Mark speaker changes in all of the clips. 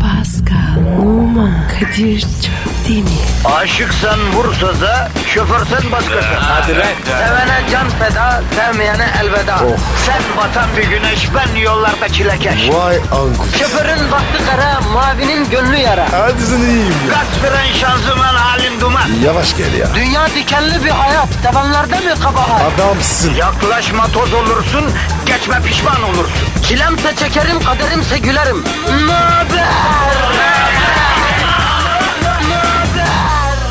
Speaker 1: Pascal, Oman, Kadir çok değil mi?
Speaker 2: Aşıksan vursa da şoförsen başkasın.
Speaker 3: Hadi lan.
Speaker 2: Sevene can feda, sevmeyene elveda.
Speaker 4: Oh.
Speaker 2: Sen batan bir güneş, ben yollarda çilekeş.
Speaker 4: Vay anku.
Speaker 2: Şoförün baktı kara, mavinin gönlü yara.
Speaker 4: Hadi sen iyiyim ya.
Speaker 2: Kasperen şanzıman halin duman.
Speaker 4: Yavaş gel ya.
Speaker 2: Dünya dikenli bir hayat, sevenlerde mi kabahar?
Speaker 4: Adamsın.
Speaker 2: Yaklaşma toz olursun, geçme pişman olursun. Çilemse çekerim, kaderimse gülerim. Möber!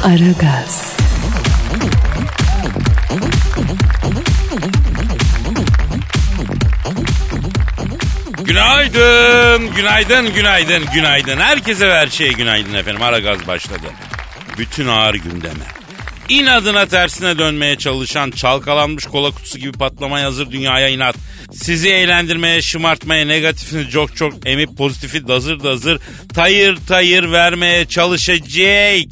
Speaker 1: Aragaz,
Speaker 3: Günaydın, günaydın, günaydın, günaydın. Herkese ve her şeye günaydın efendim. Ara gaz başladı. Bütün ağır gündeme. İnadına tersine dönmeye çalışan çalkalanmış kola kutusu gibi patlamaya hazır dünyaya inat. Sizi eğlendirmeye, şımartmaya, negatifini çok çok emip pozitifi dazır dazır tayır tayır vermeye çalışacak.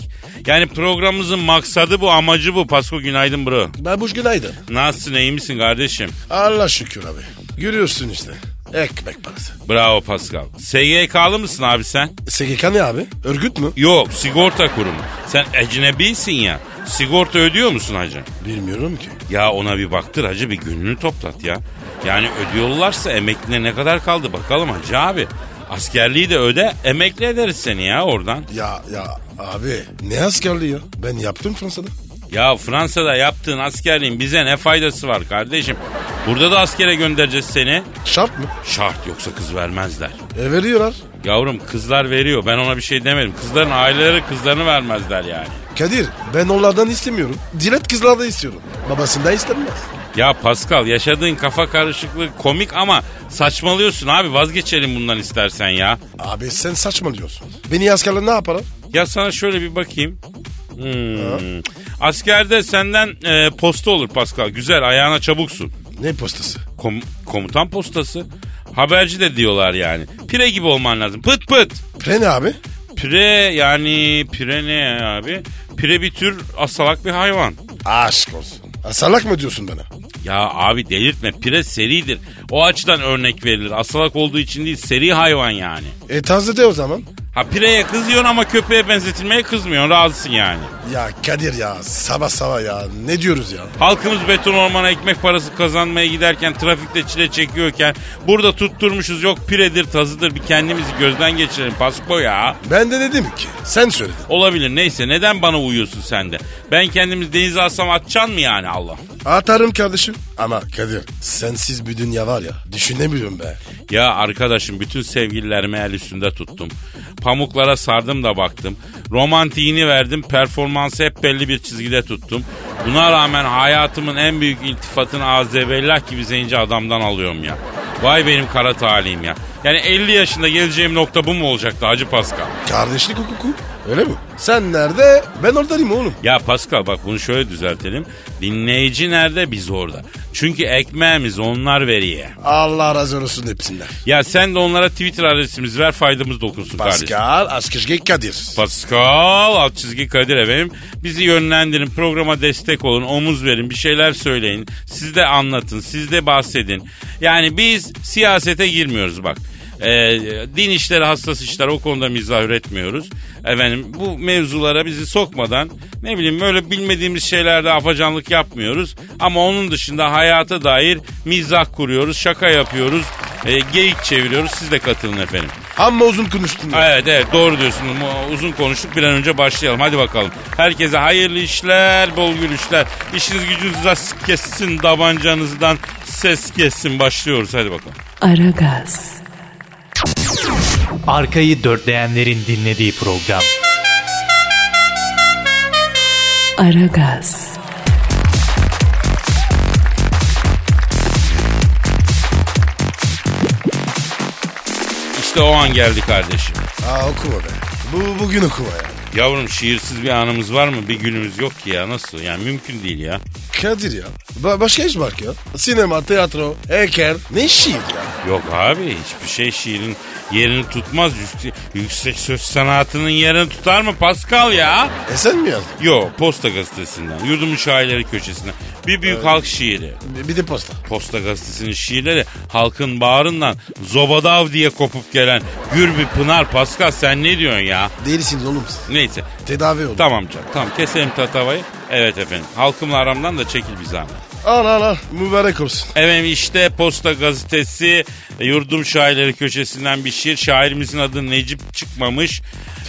Speaker 3: Yani programımızın maksadı bu, amacı bu. Pasko günaydın bro.
Speaker 4: Babuş günaydın.
Speaker 3: Nasılsın, iyi misin kardeşim?
Speaker 4: Allah şükür abi. Görüyorsun işte. Ekmek parası.
Speaker 3: Bravo Pascal. SGK'lı mısın abi sen?
Speaker 4: SGK ne abi? Örgüt mü?
Speaker 3: Yok sigorta kurumu. Sen ecnebisin ya. Sigorta ödüyor musun hacı?
Speaker 4: Bilmiyorum ki.
Speaker 3: Ya ona bir baktır hacı bir gününü toplat ya. Yani ödüyorlarsa emekline ne kadar kaldı bakalım hacı abi. Askerliği de öde emekli ederiz seni ya oradan.
Speaker 4: Ya ya abi ne askerliği ya? Ben yaptım Fransa'da.
Speaker 3: Ya Fransa'da yaptığın askerliğin bize ne faydası var kardeşim? Burada da askere göndereceğiz seni.
Speaker 4: Şart mı?
Speaker 3: Şart yoksa kız vermezler.
Speaker 4: E veriyorlar.
Speaker 3: Yavrum kızlar veriyor ben ona bir şey demedim. Kızların aileleri kızlarını vermezler yani.
Speaker 4: Kadir ben onlardan istemiyorum. Direkt kızlardan istiyorum. Babasından istenmez.
Speaker 3: Ya Pascal yaşadığın kafa karışıklığı komik ama saçmalıyorsun abi vazgeçelim bundan istersen ya.
Speaker 4: Abi sen saçmalıyorsun. Beni askerler ne yapar?
Speaker 3: Ya sana şöyle bir bakayım. Hmm. Askerde senden e, posta olur Pascal. Güzel ayağına çabuksun.
Speaker 4: Ne postası?
Speaker 3: Kom- komutan postası. Haberci de diyorlar yani. Pire gibi olman lazım. Pıt pıt.
Speaker 4: Pre ne abi?
Speaker 3: Pire yani pire ne ya abi? Pire bir tür asalak bir hayvan.
Speaker 4: Aşk olsun. Asalak mı diyorsun bana?
Speaker 3: Ya abi delirtme pire seridir. O açıdan örnek verilir. Asalak olduğu için değil seri hayvan yani.
Speaker 4: E tazede o zaman.
Speaker 3: Ha pireye kızıyorsun ama köpeğe benzetilmeye kızmıyorsun. Razısın yani.
Speaker 4: Ya Kadir ya sabah sabah ya ne diyoruz ya?
Speaker 3: Halkımız beton ormana ekmek parası kazanmaya giderken trafikte çile çekiyorken burada tutturmuşuz yok piredir tazıdır bir kendimizi gözden geçirelim Pasko ya.
Speaker 4: Ben de dedim ki sen söyledin.
Speaker 3: Olabilir neyse neden bana uyuyorsun sen de? Ben kendimizi denize alsam atacaksın mı yani Allah?
Speaker 4: Atarım kardeşim. Ama Kadir sensiz bir dünya var ya düşünemiyorum be.
Speaker 3: Ya arkadaşım bütün sevgililerimi el üstünde tuttum. Pamuklara sardım da baktım. Romantiğini verdim. Performansı hep belli bir çizgide tuttum. Buna rağmen hayatımın en büyük iltifatını Azebellah gibi zenci adamdan alıyorum ya. Vay benim kara talihim ya. Yani 50 yaşında geleceğim nokta bu mu olacaktı Hacı Pascal?
Speaker 4: Kardeşlik hukuku öyle mi? Sen nerede ben oradayım oğlum.
Speaker 3: Ya Pascal bak bunu şöyle düzeltelim. Dinleyici nerede biz orada. Çünkü ekmeğimiz onlar veriyor.
Speaker 4: Allah razı olsun hepsinden.
Speaker 3: Ya sen de onlara Twitter adresimizi ver faydamız dokunsun kardeşim.
Speaker 4: Pascal Askışge Kadir.
Speaker 3: Pascal alt çizgi Kadir efendim. Bizi yönlendirin, programa destek olun, omuz verin, bir şeyler söyleyin. Siz de anlatın, siz de bahsedin. Yani biz siyasete girmiyoruz bak. Ee, din işleri, hassas işler o konuda mizah üretmiyoruz. Efendim bu mevzulara bizi sokmadan ne bileyim böyle bilmediğimiz şeylerde afacanlık yapmıyoruz. Ama onun dışında hayata dair mizah kuruyoruz, şaka yapıyoruz, e, geyik çeviriyoruz. Siz de katılın efendim.
Speaker 4: Amma uzun konuştun. ya.
Speaker 3: Evet evet doğru diyorsun. Mu- Uzun konuştuk bir an önce başlayalım. Hadi bakalım. Herkese hayırlı işler, bol gülüşler. İşiniz gücünüz rast kessin, tabancanızdan ses kessin. Başlıyoruz hadi bakalım.
Speaker 1: Aragaz,
Speaker 5: Arkayı dörtleyenlerin dinlediği program.
Speaker 1: Aragaz,
Speaker 3: İşte o an geldi kardeşim.
Speaker 4: Aa okuma be. Bu, bugün okuma ya.
Speaker 3: Yavrum şiirsiz bir anımız var mı? Bir günümüz yok ki ya nasıl? Yani mümkün değil ya.
Speaker 4: Kadir ya. Ba- başka iş bak ya. Sinema, tiyatro, heykel. Ne şiir ya?
Speaker 3: Yok abi hiçbir şey şiirin yerini tutmaz. Yüksek, yüksek söz sanatının yerini tutar mı Pascal ya?
Speaker 4: E sen mi yazdın?
Speaker 3: Yo Posta Gazetesi'nden, Yurdumun Şairleri Köşesi'nden. Bir büyük halk şiiri.
Speaker 4: Bir de posta.
Speaker 3: Posta gazetesinin şiirleri halkın bağrından zobadav diye kopup gelen Gürbü Pınar Pascal sen ne diyorsun ya?
Speaker 4: Değilsiniz oğlum siz.
Speaker 3: Neyse
Speaker 4: Tedavi olun.
Speaker 3: tamam canım tamam keselim tatavayı. Evet efendim halkımla aramdan da çekil bir zahmet.
Speaker 4: Al al al. Mübarek olsun.
Speaker 3: Efendim işte Posta Gazetesi e, Yurdum Şairleri köşesinden bir şiir. Şairimizin adı Necip Çıkmamış.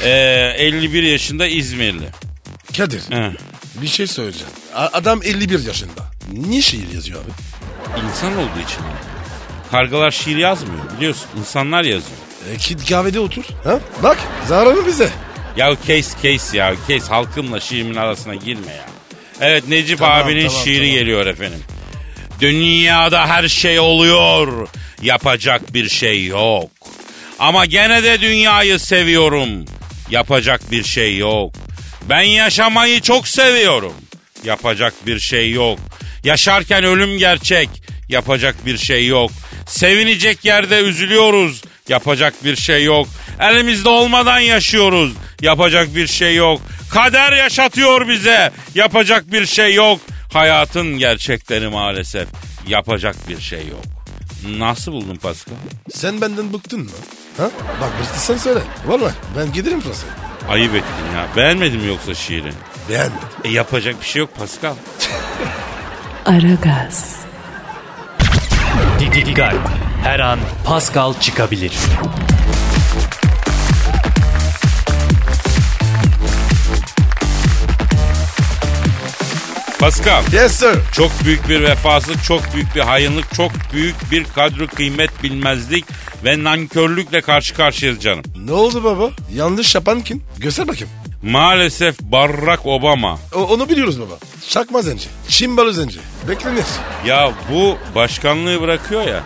Speaker 3: E, 51 yaşında İzmirli.
Speaker 4: Kadir
Speaker 3: He.
Speaker 4: bir şey söyleyeceğim. A- adam 51 yaşında. Niye şiir yazıyor abi?
Speaker 3: İnsan olduğu için. Kargalar şiir yazmıyor biliyorsun. İnsanlar yazıyor.
Speaker 4: E, git kahvede otur. Ha? Bak zararı bize.
Speaker 3: Ya kes kes ya kes halkımla şiirimin arasına girme ya. Evet Necip
Speaker 4: Tamam,
Speaker 3: abinin
Speaker 4: tamam,
Speaker 3: şiiri
Speaker 4: tamam.
Speaker 3: geliyor efendim. Dünyada her şey oluyor. Yapacak bir şey yok. Ama gene de dünyayı seviyorum. Yapacak bir şey yok. Ben yaşamayı çok seviyorum. Yapacak bir şey yok. Yaşarken ölüm gerçek. Yapacak bir şey yok. Sevinecek yerde üzülüyoruz. Yapacak bir şey yok. Elimizde olmadan yaşıyoruz. Yapacak bir şey yok. Kader yaşatıyor bize. Yapacak bir şey yok. Hayatın gerçekleri maalesef yapacak bir şey yok. Nasıl buldun Pascal?
Speaker 4: Sen benden bıktın mı? Ha? Bak bıktıysan söyle. Vallahi ben giderim Fransa'ya.
Speaker 3: Ayıp ettin ya. Beğenmedim yoksa şiiri?
Speaker 4: Beğenmedim.
Speaker 3: E yapacak bir şey yok Pascal.
Speaker 1: Aragaz,
Speaker 5: Didi Gal. Her an Pascal çıkabilir.
Speaker 3: Pascal
Speaker 4: Yes sir.
Speaker 3: çok büyük bir vefasızlık, çok büyük bir hayınlık, çok büyük bir kadro kıymet bilmezlik ve nankörlükle karşı karşıyayız canım.
Speaker 4: Ne oldu baba? Yanlış yapan kim? Göster bakayım.
Speaker 3: Maalesef Barack Obama.
Speaker 4: O- onu biliyoruz baba. Çakma zenci. Çimbalı zenci. Beklenir.
Speaker 3: Ya bu başkanlığı bırakıyor ya.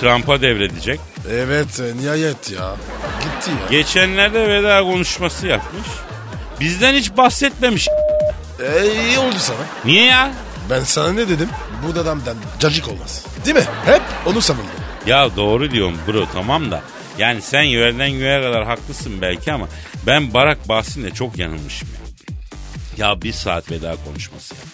Speaker 3: Trump'a devredecek.
Speaker 4: Evet e, nihayet ya. Gitti ya.
Speaker 3: Geçenlerde veda konuşması yapmış. Bizden hiç bahsetmemiş.
Speaker 4: E, iyi oldu sana.
Speaker 3: Niye ya?
Speaker 4: Ben sana ne dedim? Bu adamdan cacık olmaz. Değil mi? Hep onu savundum.
Speaker 3: Ya doğru diyorum bro tamam da. Yani sen yerden göğe kadar haklısın belki ama ben Barak bahsinde çok yanılmışım ya. Ya bir saat veda konuşması yaptı.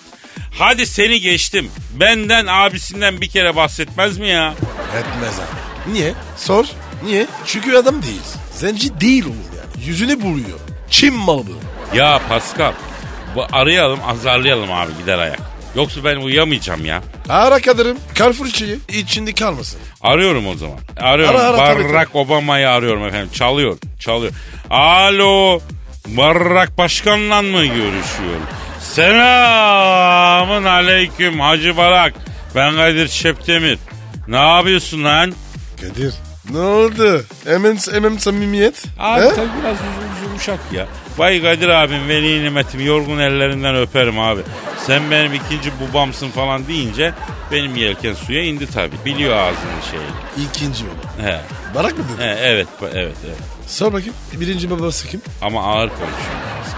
Speaker 3: Hadi seni geçtim. Benden abisinden bir kere bahsetmez mi ya?
Speaker 4: Etmez abi. Niye? Sor. Niye? Çünkü adam değil. Zenci değil oğlum yani. Yüzünü buluyor. Çin malı bu.
Speaker 3: Ya Pascal bu arayalım azarlayalım abi gider ayak. Yoksa ben uyuyamayacağım ya.
Speaker 4: Ara kadarım. Carrefour içi. İçinde kalmasın.
Speaker 3: Arıyorum o zaman. Arıyorum.
Speaker 4: Ara, ara, tabii,
Speaker 3: Barack Obama'yı arıyorum efendim. Çalıyor. Çalıyor. Alo. Barack Başkan'la mı görüşüyorum? Selamın aleyküm Hacı Barak. Ben Kadir Şeptemir. Ne yapıyorsun lan?
Speaker 4: Kadir. Ne oldu? Hemen, hemen samimiyet.
Speaker 3: Abi
Speaker 4: He?
Speaker 3: tabii biraz yüzümüz yumuşak ya. Vay Kadir abim veli nimetim yorgun ellerinden öperim abi. Sen benim ikinci babamsın falan deyince benim yelken suya indi tabii. Biliyor ağzının şeyi.
Speaker 4: İkinci baba.
Speaker 3: He.
Speaker 4: Barak mı dedin?
Speaker 3: He, evet, evet, evet.
Speaker 4: Sor bakayım. Birinci babası kim?
Speaker 3: Ama ağır konuşuyor biraz.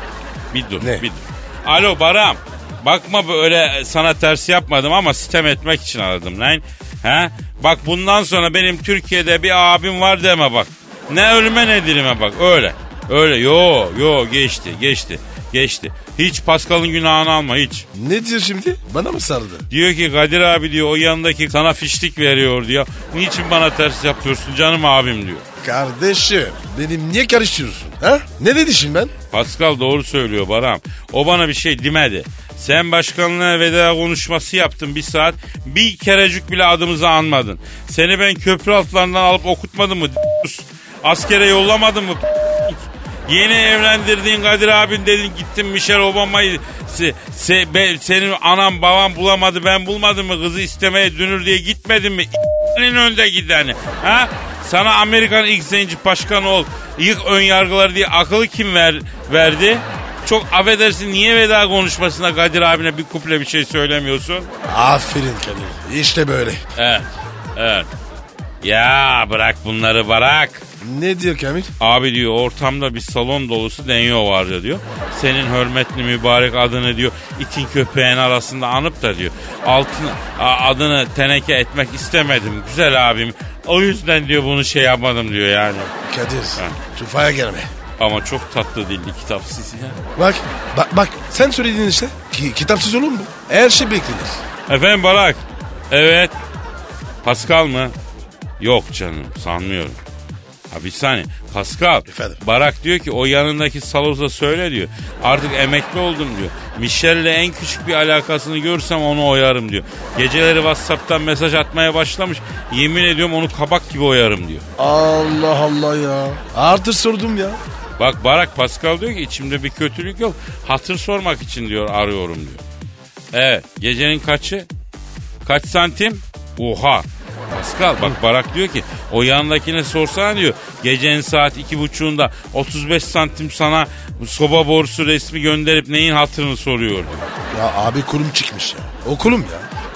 Speaker 3: Bir dur,
Speaker 4: Ne?
Speaker 3: bir dur. Alo Baram. Bakma böyle e, sana ters yapmadım ama sitem etmek için aradım lan. He? Bak bundan sonra benim Türkiye'de bir abim var deme bak. Ne ölüme ne dilime bak öyle. Öyle yo yo geçti geçti geçti. Hiç Pascal'ın günahını alma hiç.
Speaker 4: Ne diyor şimdi? Bana mı sardı?
Speaker 3: Diyor ki Kadir abi diyor o yanındaki sana fişlik veriyor diyor. Niçin bana ters yapıyorsun canım abim diyor.
Speaker 4: Kardeşim benim niye karıştırıyorsun? Ha? Ne dedi şimdi ben?
Speaker 3: Pascal doğru söylüyor Baram. O bana bir şey demedi. Sen başkanlığa veda konuşması yaptın bir saat. Bir kerecik bile adımızı anmadın. Seni ben köprü altlarından alıp okutmadım mı? d***us? Askere yollamadım mı? d***us? Yeni evlendirdiğin Kadir abin dedin gittin Michelle Obama'yı se- se- be- senin anam babam bulamadı ben bulmadım mı kızı istemeye dönür diye gitmedin mi? senin önde gideni. Ha? Sana Amerikan ilk zenci başkanı ol. Yık ön yargıları diye akıllı kim ver, verdi? Çok affedersin niye veda konuşmasında Kadir abine bir kuple bir şey söylemiyorsun?
Speaker 4: Aferin Kadir. İşte böyle.
Speaker 3: Evet. Evet. Ya bırak bunları bırak.
Speaker 4: Ne diyor Kamil?
Speaker 3: Abi diyor ortamda bir salon dolusu denyo vardı diyor. Senin hürmetli mübarek adını diyor itin köpeğin arasında anıp da diyor altın a- adını teneke etmek istemedim güzel abim. O yüzden diyor bunu şey yapmadım diyor yani.
Speaker 4: Kadir. Tufaya gelme.
Speaker 3: Ama çok tatlı dilli kitapsız ya.
Speaker 4: Bak, bak, bak sen söylediğin işte. Ki, kitapsız olur mu? Her şey beklenir.
Speaker 3: Efendim Barak. Evet. Pascal mı? Yok canım sanmıyorum. Ha bir saniye. Pascal.
Speaker 4: Efendim?
Speaker 3: Barak diyor ki o yanındaki saloza söyle diyor. Artık emekli oldum diyor. Michelle'le en küçük bir alakasını görürsem onu oyarım diyor. Geceleri Whatsapp'tan mesaj atmaya başlamış. Yemin ediyorum onu kabak gibi oyarım diyor.
Speaker 4: Allah Allah ya. Artır sordum ya.
Speaker 3: Bak Barak Pascal diyor ki içimde bir kötülük yok. Hatır sormak için diyor arıyorum diyor. Evet gecenin kaçı? Kaç santim? Oha. Pascal bak Barak diyor ki o yanındakine sorsana diyor. Gecenin saat iki buçuğunda 35 santim sana soba borusu resmi gönderip neyin hatırını soruyor. diyor.
Speaker 4: Ya abi kurum çıkmış ya. O kurum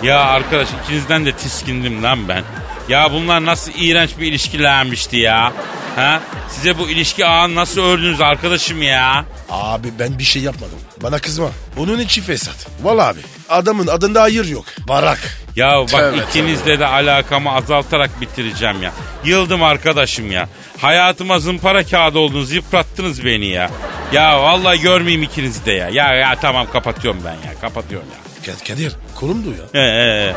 Speaker 4: ya.
Speaker 3: Ya arkadaş ikinizden de tiskindim lan ben. Ya bunlar nasıl iğrenç bir ilişkilenmişti ya. Ha? Size bu ilişki ağını nasıl ördünüz arkadaşım ya?
Speaker 4: Abi ben bir şey yapmadım. Bana kızma. Onun için fesat. Vallahi abi. Adamın adında hayır yok. Barak.
Speaker 3: Ya bak
Speaker 4: Tövbe,
Speaker 3: ikinizle de alakamı azaltarak bitireceğim ya. Yıldım arkadaşım ya. Hayatıma zımpara kağıdı oldunuz, yıprattınız beni ya. Ya vallahi görmeyeyim ikinizi de ya. Ya ya tamam kapatıyorum ben ya, kapatıyorum ya.
Speaker 4: Kad- Kadir kurumdu ya.
Speaker 3: Ee, ee, ee.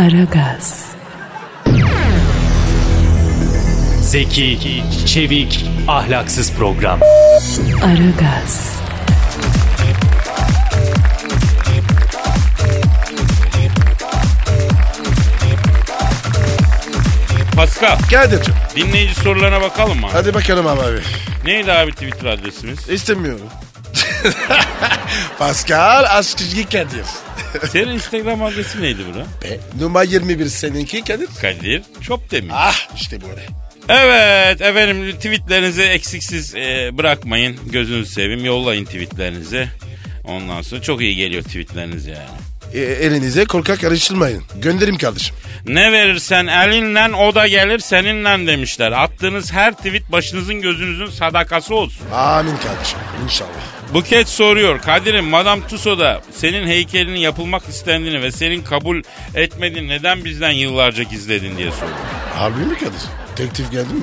Speaker 1: Aragaz,
Speaker 5: Zeki, çevik, ahlaksız program.
Speaker 1: Aragaz,
Speaker 3: Pascal,
Speaker 4: Kadir'cim
Speaker 3: dinleyici sorularına bakalım mı?
Speaker 4: hadi bakalım abi.
Speaker 3: Neydi abi Twitter adresimiz?
Speaker 4: İstemiyorum. Pascal Askizgi Kadir.
Speaker 3: Senin Instagram adresi neydi bura?
Speaker 4: Be, E, numara 21 seninki Kadir.
Speaker 3: Kadir Çopdemir.
Speaker 4: Ah işte böyle.
Speaker 3: Evet efendim tweetlerinizi eksiksiz e, bırakmayın. Gözünüzü seveyim yollayın tweetlerinizi. Ondan sonra çok iyi geliyor tweetleriniz yani.
Speaker 4: E, elinize korkak karıştırmayın. Gönderim kardeşim.
Speaker 3: Ne verirsen elinle o da gelir seninle demişler. Attığınız her tweet başınızın gözünüzün sadakası olsun.
Speaker 4: Amin kardeşim. İnşallah.
Speaker 3: Buket soruyor. Kadir'im Madame Tussauds'da senin heykelinin yapılmak istendiğini ve senin kabul etmediğini neden bizden yıllarca gizledin diye soruyor.
Speaker 4: Harbi mi Kadir? Teklif geldi mi?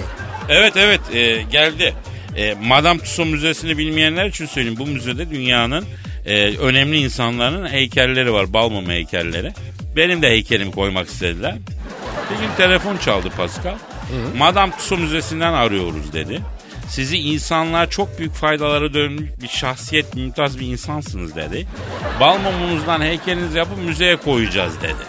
Speaker 3: Evet evet e, geldi. E, Madame Tussauds Müzesi'ni bilmeyenler için söyleyeyim. Bu müzede dünyanın e, önemli insanların heykelleri var. Balmumu heykelleri. Benim de heykelimi koymak istediler. Bir gün telefon çaldı Pascal. Madame Tussauds Müzesi'nden arıyoruz dedi. Sizi insanlığa çok büyük faydalara dönmüş bir şahsiyet, mümtaz bir insansınız dedi. Balmumunuzdan heykelinizi yapıp müzeye koyacağız dedi.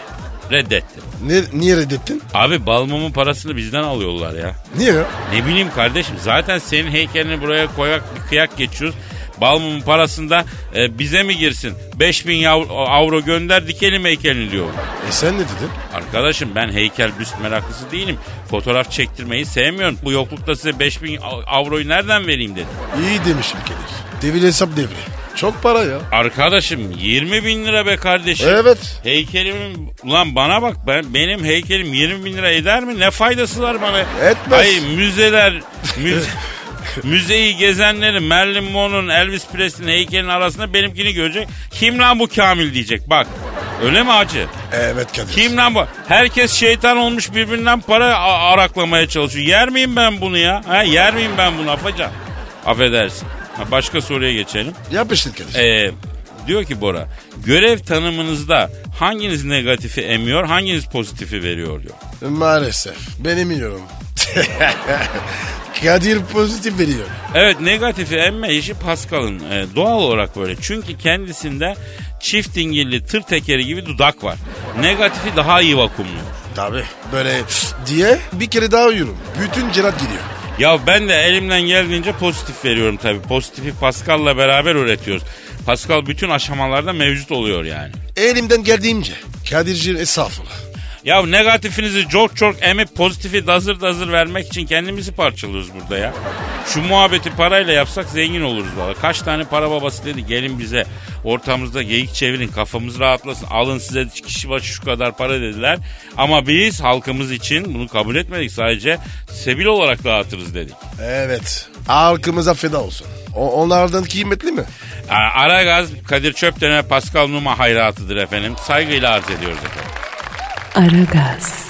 Speaker 3: Reddetti.
Speaker 4: Ne, niye reddettin?
Speaker 3: Abi balmumun parasını bizden alıyorlar ya.
Speaker 4: Niye ya?
Speaker 3: Ne bileyim kardeşim zaten senin heykelini buraya koyak bir kıyak geçiyoruz. Balmumun parasında e, bize mi girsin? 5000 yav- e, avro gönder dikelim heykelini diyor.
Speaker 4: E sen ne dedin?
Speaker 3: Arkadaşım ben heykel büst meraklısı değilim. Fotoğraf çektirmeyi sevmiyorum. Bu yoklukta size 5000 av- avroyu nereden vereyim dedim.
Speaker 4: İyi demişim Kadir. Devir hesap devri. Çok para ya.
Speaker 3: Arkadaşım 20 bin lira be kardeşim.
Speaker 4: Evet.
Speaker 3: Heykelimin ulan bana bak ben benim heykelim 20 bin lira eder mi? Ne faydası var bana?
Speaker 4: Etmez.
Speaker 3: Hayır müzeler müze, müzeyi gezenlerin Marilyn Monroe'nun Elvis Presley'nin heykelinin arasında benimkini görecek. Kim lan bu Kamil diyecek bak. Öyle mi acı?
Speaker 4: Evet Kadir.
Speaker 3: Kim lan bu? Herkes şeytan olmuş birbirinden para a- araklamaya çalışıyor. Yer miyim ben bunu ya? Ha, yer miyim ben bunu afacan? Affedersin. Ha, başka soruya geçelim.
Speaker 4: Yapıştır Kadir.
Speaker 3: Ee, diyor ki Bora, görev tanımınızda hanginiz negatifi emiyor, hanginiz pozitifi veriyor diyor.
Speaker 4: Maalesef. Ben emiyorum. Kadir pozitif veriyor.
Speaker 3: Evet negatifi emme işi Pascal'ın e, doğal olarak böyle. Çünkü kendisinde çift dingilli tır tekeri gibi dudak var. Negatifi daha iyi vakumluyor.
Speaker 4: Tabi. Böyle diye bir kere daha uyurum. Bütün cirat gidiyor.
Speaker 3: Ya ben de elimden geldiğince pozitif veriyorum tabii. Pozitifi Pascal'la beraber üretiyoruz. Pascal bütün aşamalarda mevcut oluyor yani.
Speaker 4: Elimden geldiğimce. Kadir'ciğim estağfurullah.
Speaker 3: Ya negatifinizi çok çok emip pozitifi dazır dazır vermek için kendimizi parçalıyoruz burada ya. Şu muhabbeti parayla yapsak zengin oluruz valla. Kaç tane para babası dedi gelin bize ortamızda geyik çevirin kafamız rahatlasın. Alın size kişi başı şu kadar para dediler. Ama biz halkımız için bunu kabul etmedik sadece sebil olarak dağıtırız dedik.
Speaker 4: Evet. Halkımıza feda olsun. O, onlardan kıymetli mi?
Speaker 3: Ara gaz Kadir Çöpten'e Pascal Numa hayratıdır efendim. Saygıyla arz ediyoruz efendim.
Speaker 1: Aragaz,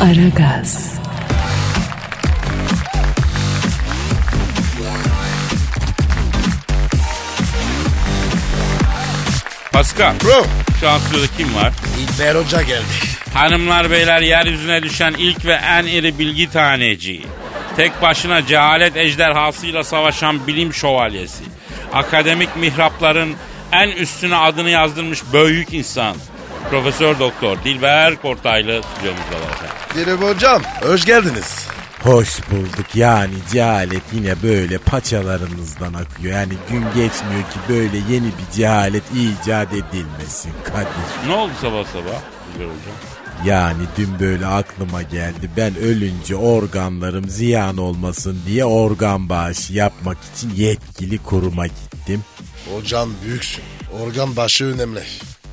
Speaker 1: Aragaz,
Speaker 3: Pascal
Speaker 4: Bro.
Speaker 3: şu an stüdyoda kim var?
Speaker 4: İlber Hoca geldi.
Speaker 3: Hanımlar beyler yeryüzüne düşen ilk ve en iri bilgi taneci. Tek başına cehalet ejderhasıyla savaşan bilim şövalyesi. Akademik mihrapların en üstüne adını yazdırmış büyük insan. Profesör Doktor Dilber Kortaylı stüdyomuzda var efendim.
Speaker 4: Dilber Hocam. Hoş geldiniz.
Speaker 6: Hoş bulduk yani cehalet yine böyle paçalarınızdan akıyor. Yani gün geçmiyor ki böyle yeni bir cehalet icat edilmesin Kadir.
Speaker 3: Ne oldu sabah sabah Dilber Hocam?
Speaker 6: Yani dün böyle aklıma geldi ben ölünce organlarım ziyan olmasın diye organ bağışı yapmak için yetkili kuruma gittim.
Speaker 4: Hocam büyüksün. Organ başı önemli.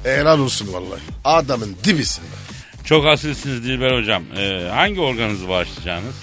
Speaker 4: Helal olsun vallahi. Adamın dibisin. be.
Speaker 3: Çok asilsiniz Dilber Hocam. Ee, hangi organınızı bağışlayacaksınız?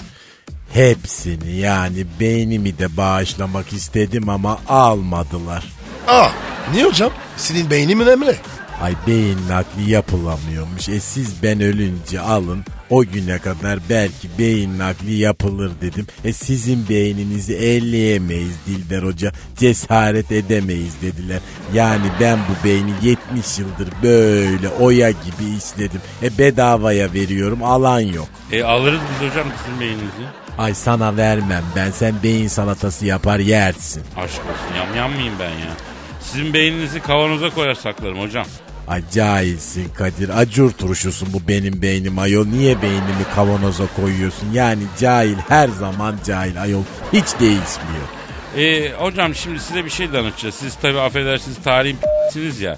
Speaker 6: Hepsini yani beynimi de bağışlamak istedim ama almadılar.
Speaker 4: Aa, Ah, niye hocam? Senin beynin önemli.
Speaker 6: Ay beyin nakli yapılamıyormuş. E siz ben ölünce alın. O güne kadar belki beyin nakli yapılır dedim. E sizin beyninizi elleyemeyiz Dilber Hoca. Cesaret edemeyiz dediler. Yani ben bu beyni 70 yıldır böyle oya gibi işledim. E bedavaya veriyorum alan yok.
Speaker 3: E, alırız biz hocam sizin beyninizi.
Speaker 6: Ay sana vermem ben sen beyin salatası yapar yersin.
Speaker 3: Aşk olsun yamyam mıyım ben ya? Sizin beyninizi kavanoza koyar saklarım hocam.
Speaker 6: Ay cahilsin Kadir. Acur turşusun bu benim beynim ayol. Niye beynimi kavanoza koyuyorsun? Yani cahil her zaman cahil ayol. Hiç değişmiyor.
Speaker 3: E, hocam şimdi size bir şey danışacağız. Siz tabii affedersiniz tarihin p***siniz ya.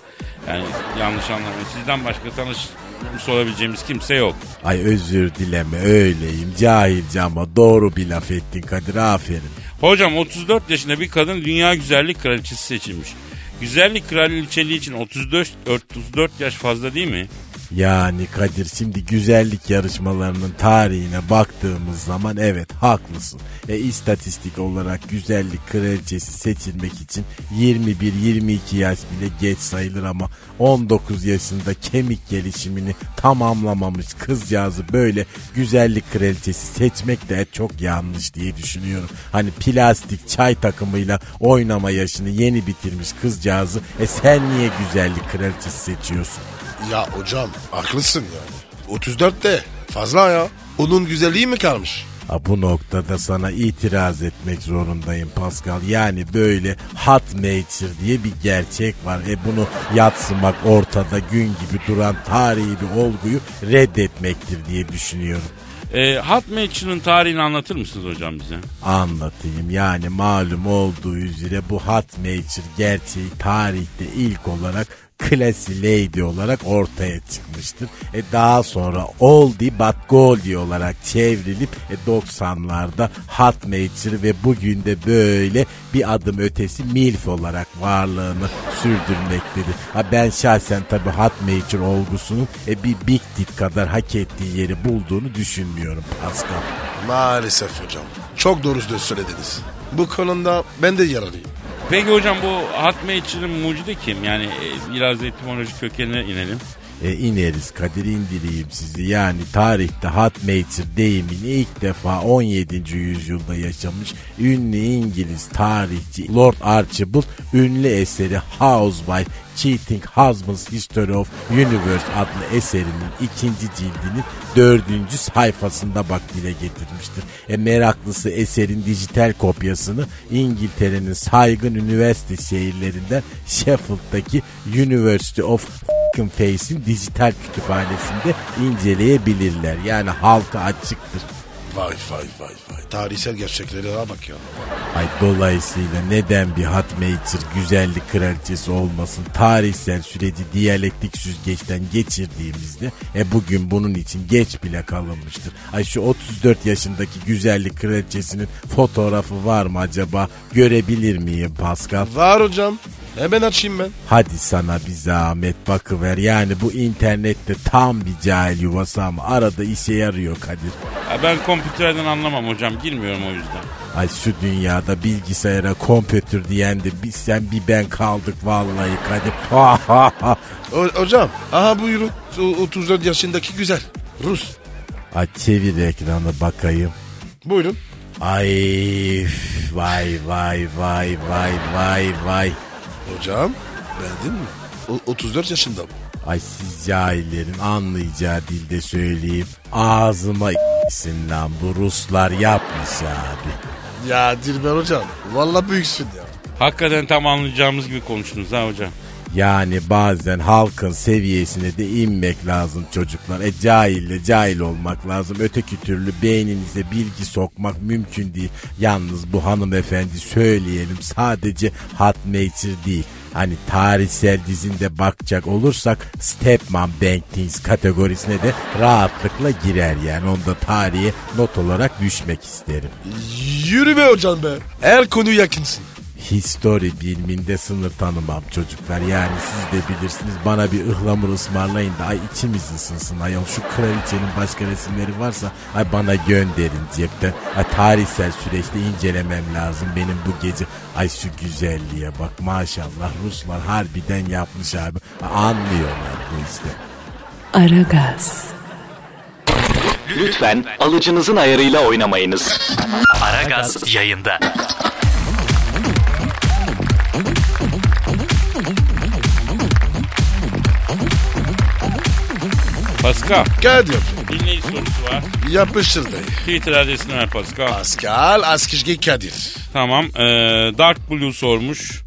Speaker 3: Yani yanlış anlamayın. Sizden başka tanışmış olabileceğimiz kimse yok.
Speaker 6: Ay özür dileme öyleyim. Cahilce ama doğru bir laf ettin Kadir. Aferin.
Speaker 3: Hocam 34 yaşında bir kadın dünya güzellik kraliçesi seçilmiş. Güzellik kraliçeliği için 34, 34 yaş fazla değil mi?
Speaker 6: Yani Kadir şimdi güzellik yarışmalarının tarihine baktığımız zaman evet haklısın. E istatistik olarak güzellik kraliçesi seçilmek için 21-22 yaş bile geç sayılır ama 19 yaşında kemik gelişimini tamamlamamış kızcağızı böyle güzellik kraliçesi seçmek de çok yanlış diye düşünüyorum. Hani plastik çay takımıyla oynama yaşını yeni bitirmiş kızcağızı e sen niye güzellik kraliçesi seçiyorsun?
Speaker 4: Ya hocam haklısın yani. 34 de fazla ya. Onun güzelliği mi kalmış?
Speaker 6: Ha, bu noktada sana itiraz etmek zorundayım Pascal. Yani böyle hot nature diye bir gerçek var. E bunu yatsımak ortada gün gibi duran tarihi bir olguyu reddetmektir diye düşünüyorum.
Speaker 3: E, Hot Match'ın tarihini anlatır mısınız hocam bize?
Speaker 6: Anlatayım yani malum olduğu üzere bu hot nature gerçeği tarihte ilk olarak classy lady olarak ortaya çıkmıştır. E daha sonra oldie but goldie olarak çevrilip e 90'larda hot nature ve bugün de böyle bir adım ötesi milf olarak varlığını sürdürmektedir. Ha ben şahsen tabii hot nature olgusunun e bir big tit kadar hak ettiği yeri bulduğunu düşünmüyorum Pascal.
Speaker 4: Maalesef hocam. Çok doğrusu söylediniz. Bu konuda ben de yararlıyım.
Speaker 3: Peki hocam bu Hot Match'ın mucidi kim? Yani e, biraz da etimolojik kökenine inelim.
Speaker 6: E, ineriz Kadir indireyim sizi. Yani tarihte hot mater deyimini ilk defa 17. yüzyılda yaşamış ünlü İngiliz tarihçi Lord Archibald ünlü eseri Housewife Cheating Husband's History of Universe adlı eserinin ikinci cildinin dördüncü sayfasında bak dile getirmiştir. E, meraklısı eserin dijital kopyasını İngiltere'nin saygın üniversite şehirlerinden Sheffield'daki University of F***ing Face'in dijital kütüphanesinde inceleyebilirler. Yani halka açıktır.
Speaker 4: Vay vay vay vay. Tarihsel gerçeklere bak ya.
Speaker 6: Ay dolayısıyla neden bir hot mater güzellik kraliçesi olmasın tarihsel süreci diyalektik süzgeçten geçirdiğimizde e bugün bunun için geç bile kalınmıştır. Ay şu 34 yaşındaki güzellik kraliçesinin fotoğrafı var mı acaba görebilir miyim Pascal?
Speaker 4: Var hocam. Hemen açayım ben.
Speaker 6: Hadi sana bir zahmet bakıver yani bu internette tam bir cahil yuvası ama arada işe yarıyor Kadir.
Speaker 3: Ya ben kompüterden anlamam hocam. Girmiyorum o yüzden.
Speaker 6: Ay şu dünyada bilgisayara kompütür diyen de biz sen bir ben kaldık vallahi Kadir. Ha, ha, ha.
Speaker 4: O- hocam. Aha buyurun. O- 34 yaşındaki güzel. Rus.
Speaker 6: Ay çevir ekranı bakayım.
Speaker 4: Buyurun.
Speaker 6: Ay üf, vay vay vay vay vay vay.
Speaker 4: Hocam beğendin mi? O, 34 yaşında bu.
Speaker 6: Ay siz cahillerin anlayacağı dilde söyleyeyim. Ağzıma isim lan bu Ruslar yapmış abi.
Speaker 4: Ya Dilber hocam valla büyüksün ya.
Speaker 3: Hakikaten tam anlayacağımız gibi konuştunuz ha hocam.
Speaker 6: Yani bazen halkın seviyesine de inmek lazım çocuklar. E cahille cahil olmak lazım. Öteki türlü beyninize bilgi sokmak mümkün değil. Yalnız bu hanımefendi söyleyelim sadece hat nature değil. Hani tarihsel dizinde bakacak olursak Stepmom Bang Things kategorisine de rahatlıkla girer yani. Onu da tarihe not olarak düşmek isterim.
Speaker 4: Yürü be hocam be. Her konu yakınsın.
Speaker 6: History biliminde sınır tanımam çocuklar. Yani siz de bilirsiniz bana bir ıhlamur ısmarlayın da ay içimiz ısınsın ayol. Şu kraliçenin başka resimleri varsa ay bana gönderin cepten. Ay tarihsel süreçte incelemem lazım benim bu gece. Ay şu güzelliğe bak maşallah Ruslar harbiden yapmış abi. Ay Anlıyorlar bu işte.
Speaker 1: Aragaz,
Speaker 7: Lütfen alıcınızın ayarıyla oynamayınız.
Speaker 5: Aragaz yayında.
Speaker 3: Pascal
Speaker 4: Kadir
Speaker 3: dinleyici sorusu var.
Speaker 4: yapıştır dayı.
Speaker 3: Twitter adresini ver Pascal.
Speaker 4: Pascal Askışki Kadir.
Speaker 3: Tamam. Ee, Dark Blue sormuş.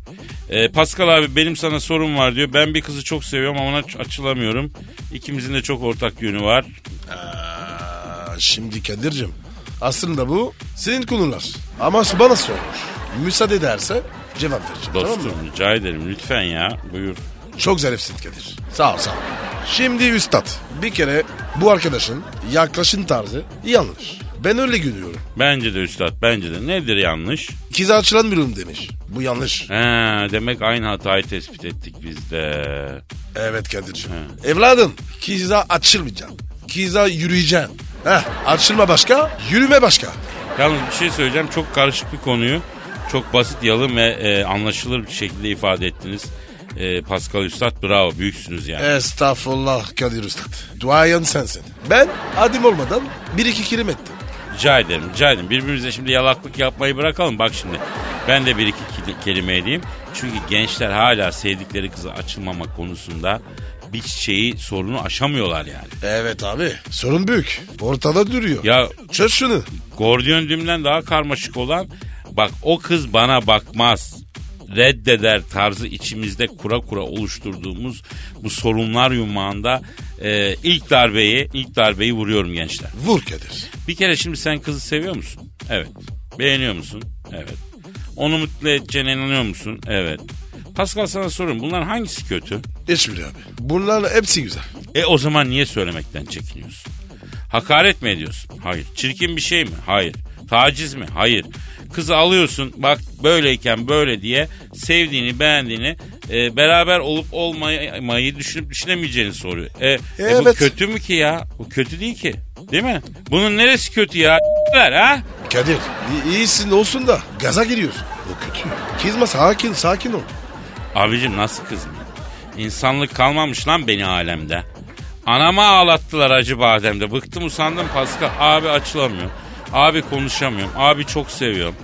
Speaker 3: Ee, Pascal abi benim sana sorum var diyor. Ben bir kızı çok seviyorum ama ona aç- açılamıyorum. İkimizin de çok ortak yönü var.
Speaker 4: Aa, şimdi Kadir'cim aslında bu senin konular. Ama bana sormuş. Müsaade ederse cevap vereceğim tamam
Speaker 3: Dostum
Speaker 4: mı?
Speaker 3: rica ederim lütfen ya. Buyur.
Speaker 4: Çok zarifsin Kadir. Sağ ol sağ ol. Şimdi üstad bir kere bu arkadaşın yaklaşım tarzı yanlış. Ben öyle görüyorum.
Speaker 3: Bence de üstad bence de. Nedir yanlış?
Speaker 4: Kize açılamıyorum demiş. Bu yanlış.
Speaker 3: Ha, demek aynı hatayı tespit ettik biz de.
Speaker 4: Evet Kadir'cim. Evladım kize açılmayacaksın. Kize yürüyeceksin. Heh, açılma başka, yürüme başka.
Speaker 3: Yalnız bir şey söyleyeceğim. Çok karışık bir konuyu çok basit, yalın ve e, anlaşılır bir şekilde ifade ettiniz. E, Pascal Üstad bravo büyüksünüz yani.
Speaker 4: Estağfurullah Kadir Üstad. Duayen sensin. Ben adım olmadan bir iki kelim ettim.
Speaker 3: Rica ederim, rica ederim. Birbirimize şimdi yalaklık yapmayı bırakalım. Bak şimdi ben de bir iki kil- kelime edeyim. Çünkü gençler hala sevdikleri kıza açılmama konusunda bir şeyi sorunu aşamıyorlar yani.
Speaker 4: Evet abi. Sorun büyük. Ortada duruyor.
Speaker 3: Ya
Speaker 4: Çöz şunu.
Speaker 3: Gordiyon düğümden daha karmaşık olan bak o kız bana bakmaz reddeder tarzı içimizde kura kura oluşturduğumuz bu sorunlar yumağında e, ilk darbeyi ilk darbeyi vuruyorum gençler.
Speaker 4: Vur Kadir.
Speaker 3: Bir kere şimdi sen kızı seviyor musun? Evet. Beğeniyor musun? Evet. Onu mutlu edeceğine inanıyor musun? Evet. Pascal sana sorayım bunların hangisi kötü?
Speaker 4: Hiçbiri abi. Bunların hepsi güzel.
Speaker 3: E o zaman niye söylemekten çekiniyorsun? Hakaret mi ediyorsun? Hayır. Çirkin bir şey mi? Hayır. Taciz mi? Hayır. Kızı alıyorsun bak böyleyken böyle diye sevdiğini beğendiğini e, beraber olup olmayı düşünüp düşünemeyeceğini soruyor. E, e bu
Speaker 4: Evet.
Speaker 3: kötü mü ki ya? Bu kötü değil ki. Değil mi? Bunun neresi kötü ya? Ver ha?
Speaker 4: Kadir i- iyisin olsun da gaza giriyorsun. O kötü. Kızma sakin sakin ol.
Speaker 3: Abicim nasıl kızmayayım? İnsanlık kalmamış lan beni alemde. Anama ağlattılar acı bademde. Bıktım usandım Pascal. Abi açılamıyorum. Abi konuşamıyorum. Abi çok seviyorum.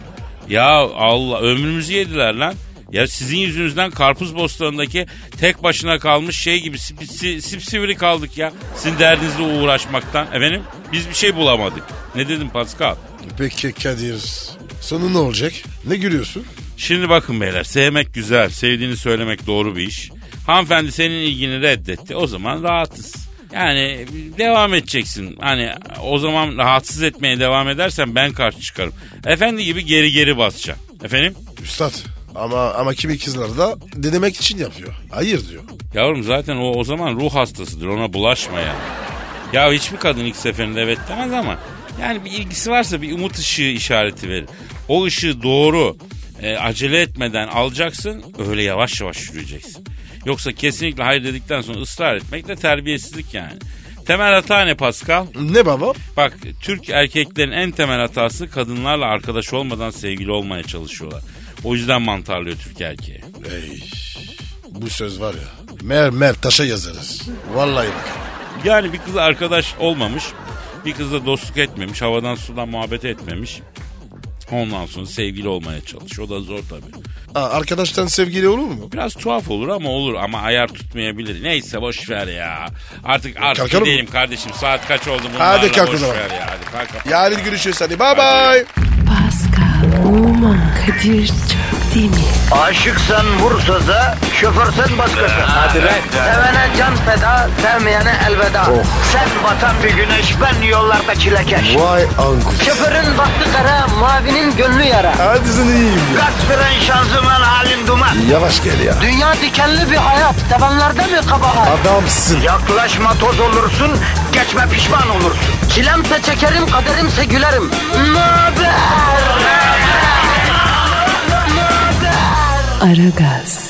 Speaker 3: Ya Allah ömrümüzü yediler lan. Ya sizin yüzünüzden karpuz bostanındaki tek başına kalmış şey gibi sip, si- sipsivri kaldık ya. Sizin derdinizle uğraşmaktan. Efendim biz bir şey bulamadık. Ne dedim Pascal?
Speaker 4: Peki Kadir sonu ne olacak? Ne gülüyorsun?
Speaker 3: Şimdi bakın beyler sevmek güzel, sevdiğini söylemek doğru bir iş. Hanımefendi senin ilgini reddetti. O zaman rahatız. Yani devam edeceksin. Hani o zaman rahatsız etmeye devam edersen ben karşı çıkarım. Efendi gibi geri geri basacağım. Efendim?
Speaker 4: Üstad ama ama kimi kızlar da denemek için yapıyor. Hayır diyor.
Speaker 3: Yavrum zaten o o zaman ruh hastasıdır ona bulaşma ya. Ya hiçbir kadın ilk seferinde evet demez ama yani bir ilgisi varsa bir umut ışığı işareti verir. O ışığı doğru e, acele etmeden alacaksın öyle yavaş yavaş yürüyeceksin. Yoksa kesinlikle hayır dedikten sonra ısrar etmek de terbiyesizlik yani. Temel hata ne Pascal?
Speaker 4: Ne baba?
Speaker 3: Bak Türk erkeklerin en temel hatası kadınlarla arkadaş olmadan sevgili olmaya çalışıyorlar. O yüzden mantarlıyor Türk erkeği.
Speaker 4: Ey, bu söz var ya. Mer mer taşa yazarız. Vallahi bak.
Speaker 3: Yani bir kız arkadaş olmamış. Bir kızla dostluk etmemiş, havadan sudan muhabbet etmemiş. Ondan sonra sevgili olmaya çalış. O da zor tabii.
Speaker 4: Aa, arkadaştan sevgili olur mu?
Speaker 3: Biraz tuhaf olur ama olur ama ayar tutmayabilir. Neyse boş ver ya. Artık artık
Speaker 4: Kalkalım
Speaker 3: gidelim
Speaker 4: mı?
Speaker 3: kardeşim. Saat kaç oldu bunlarla
Speaker 4: Hadi kalk o
Speaker 3: boş
Speaker 4: zaman.
Speaker 3: ver ya. Hadi kalk, kalk.
Speaker 4: Yarın görüşürüz hadi bye bye.
Speaker 1: Pascal, Oman, Kadir çok değil mi?
Speaker 2: Aşıksan vursa da, şoförsen başkasın. Hadi Sevene can feda, sevmeyene elveda. Sen batan bir güneş, ben yollarda çilekeş.
Speaker 4: Vay anku.
Speaker 2: Şoförün baktı kara, mavinin gönlü yara.
Speaker 4: Hadi sen iyiyim ya.
Speaker 2: Kasperen şanzıman halin duman.
Speaker 4: Yavaş gel ya.
Speaker 2: Dünya dikenli bir hayat, sevenlerde mi kabahar?
Speaker 4: Adamsın.
Speaker 2: Yaklaşma toz olursun, geçme pişman olursun. Çilemse çekerim, kaderimse gülerim. Möber!
Speaker 1: Aragaz.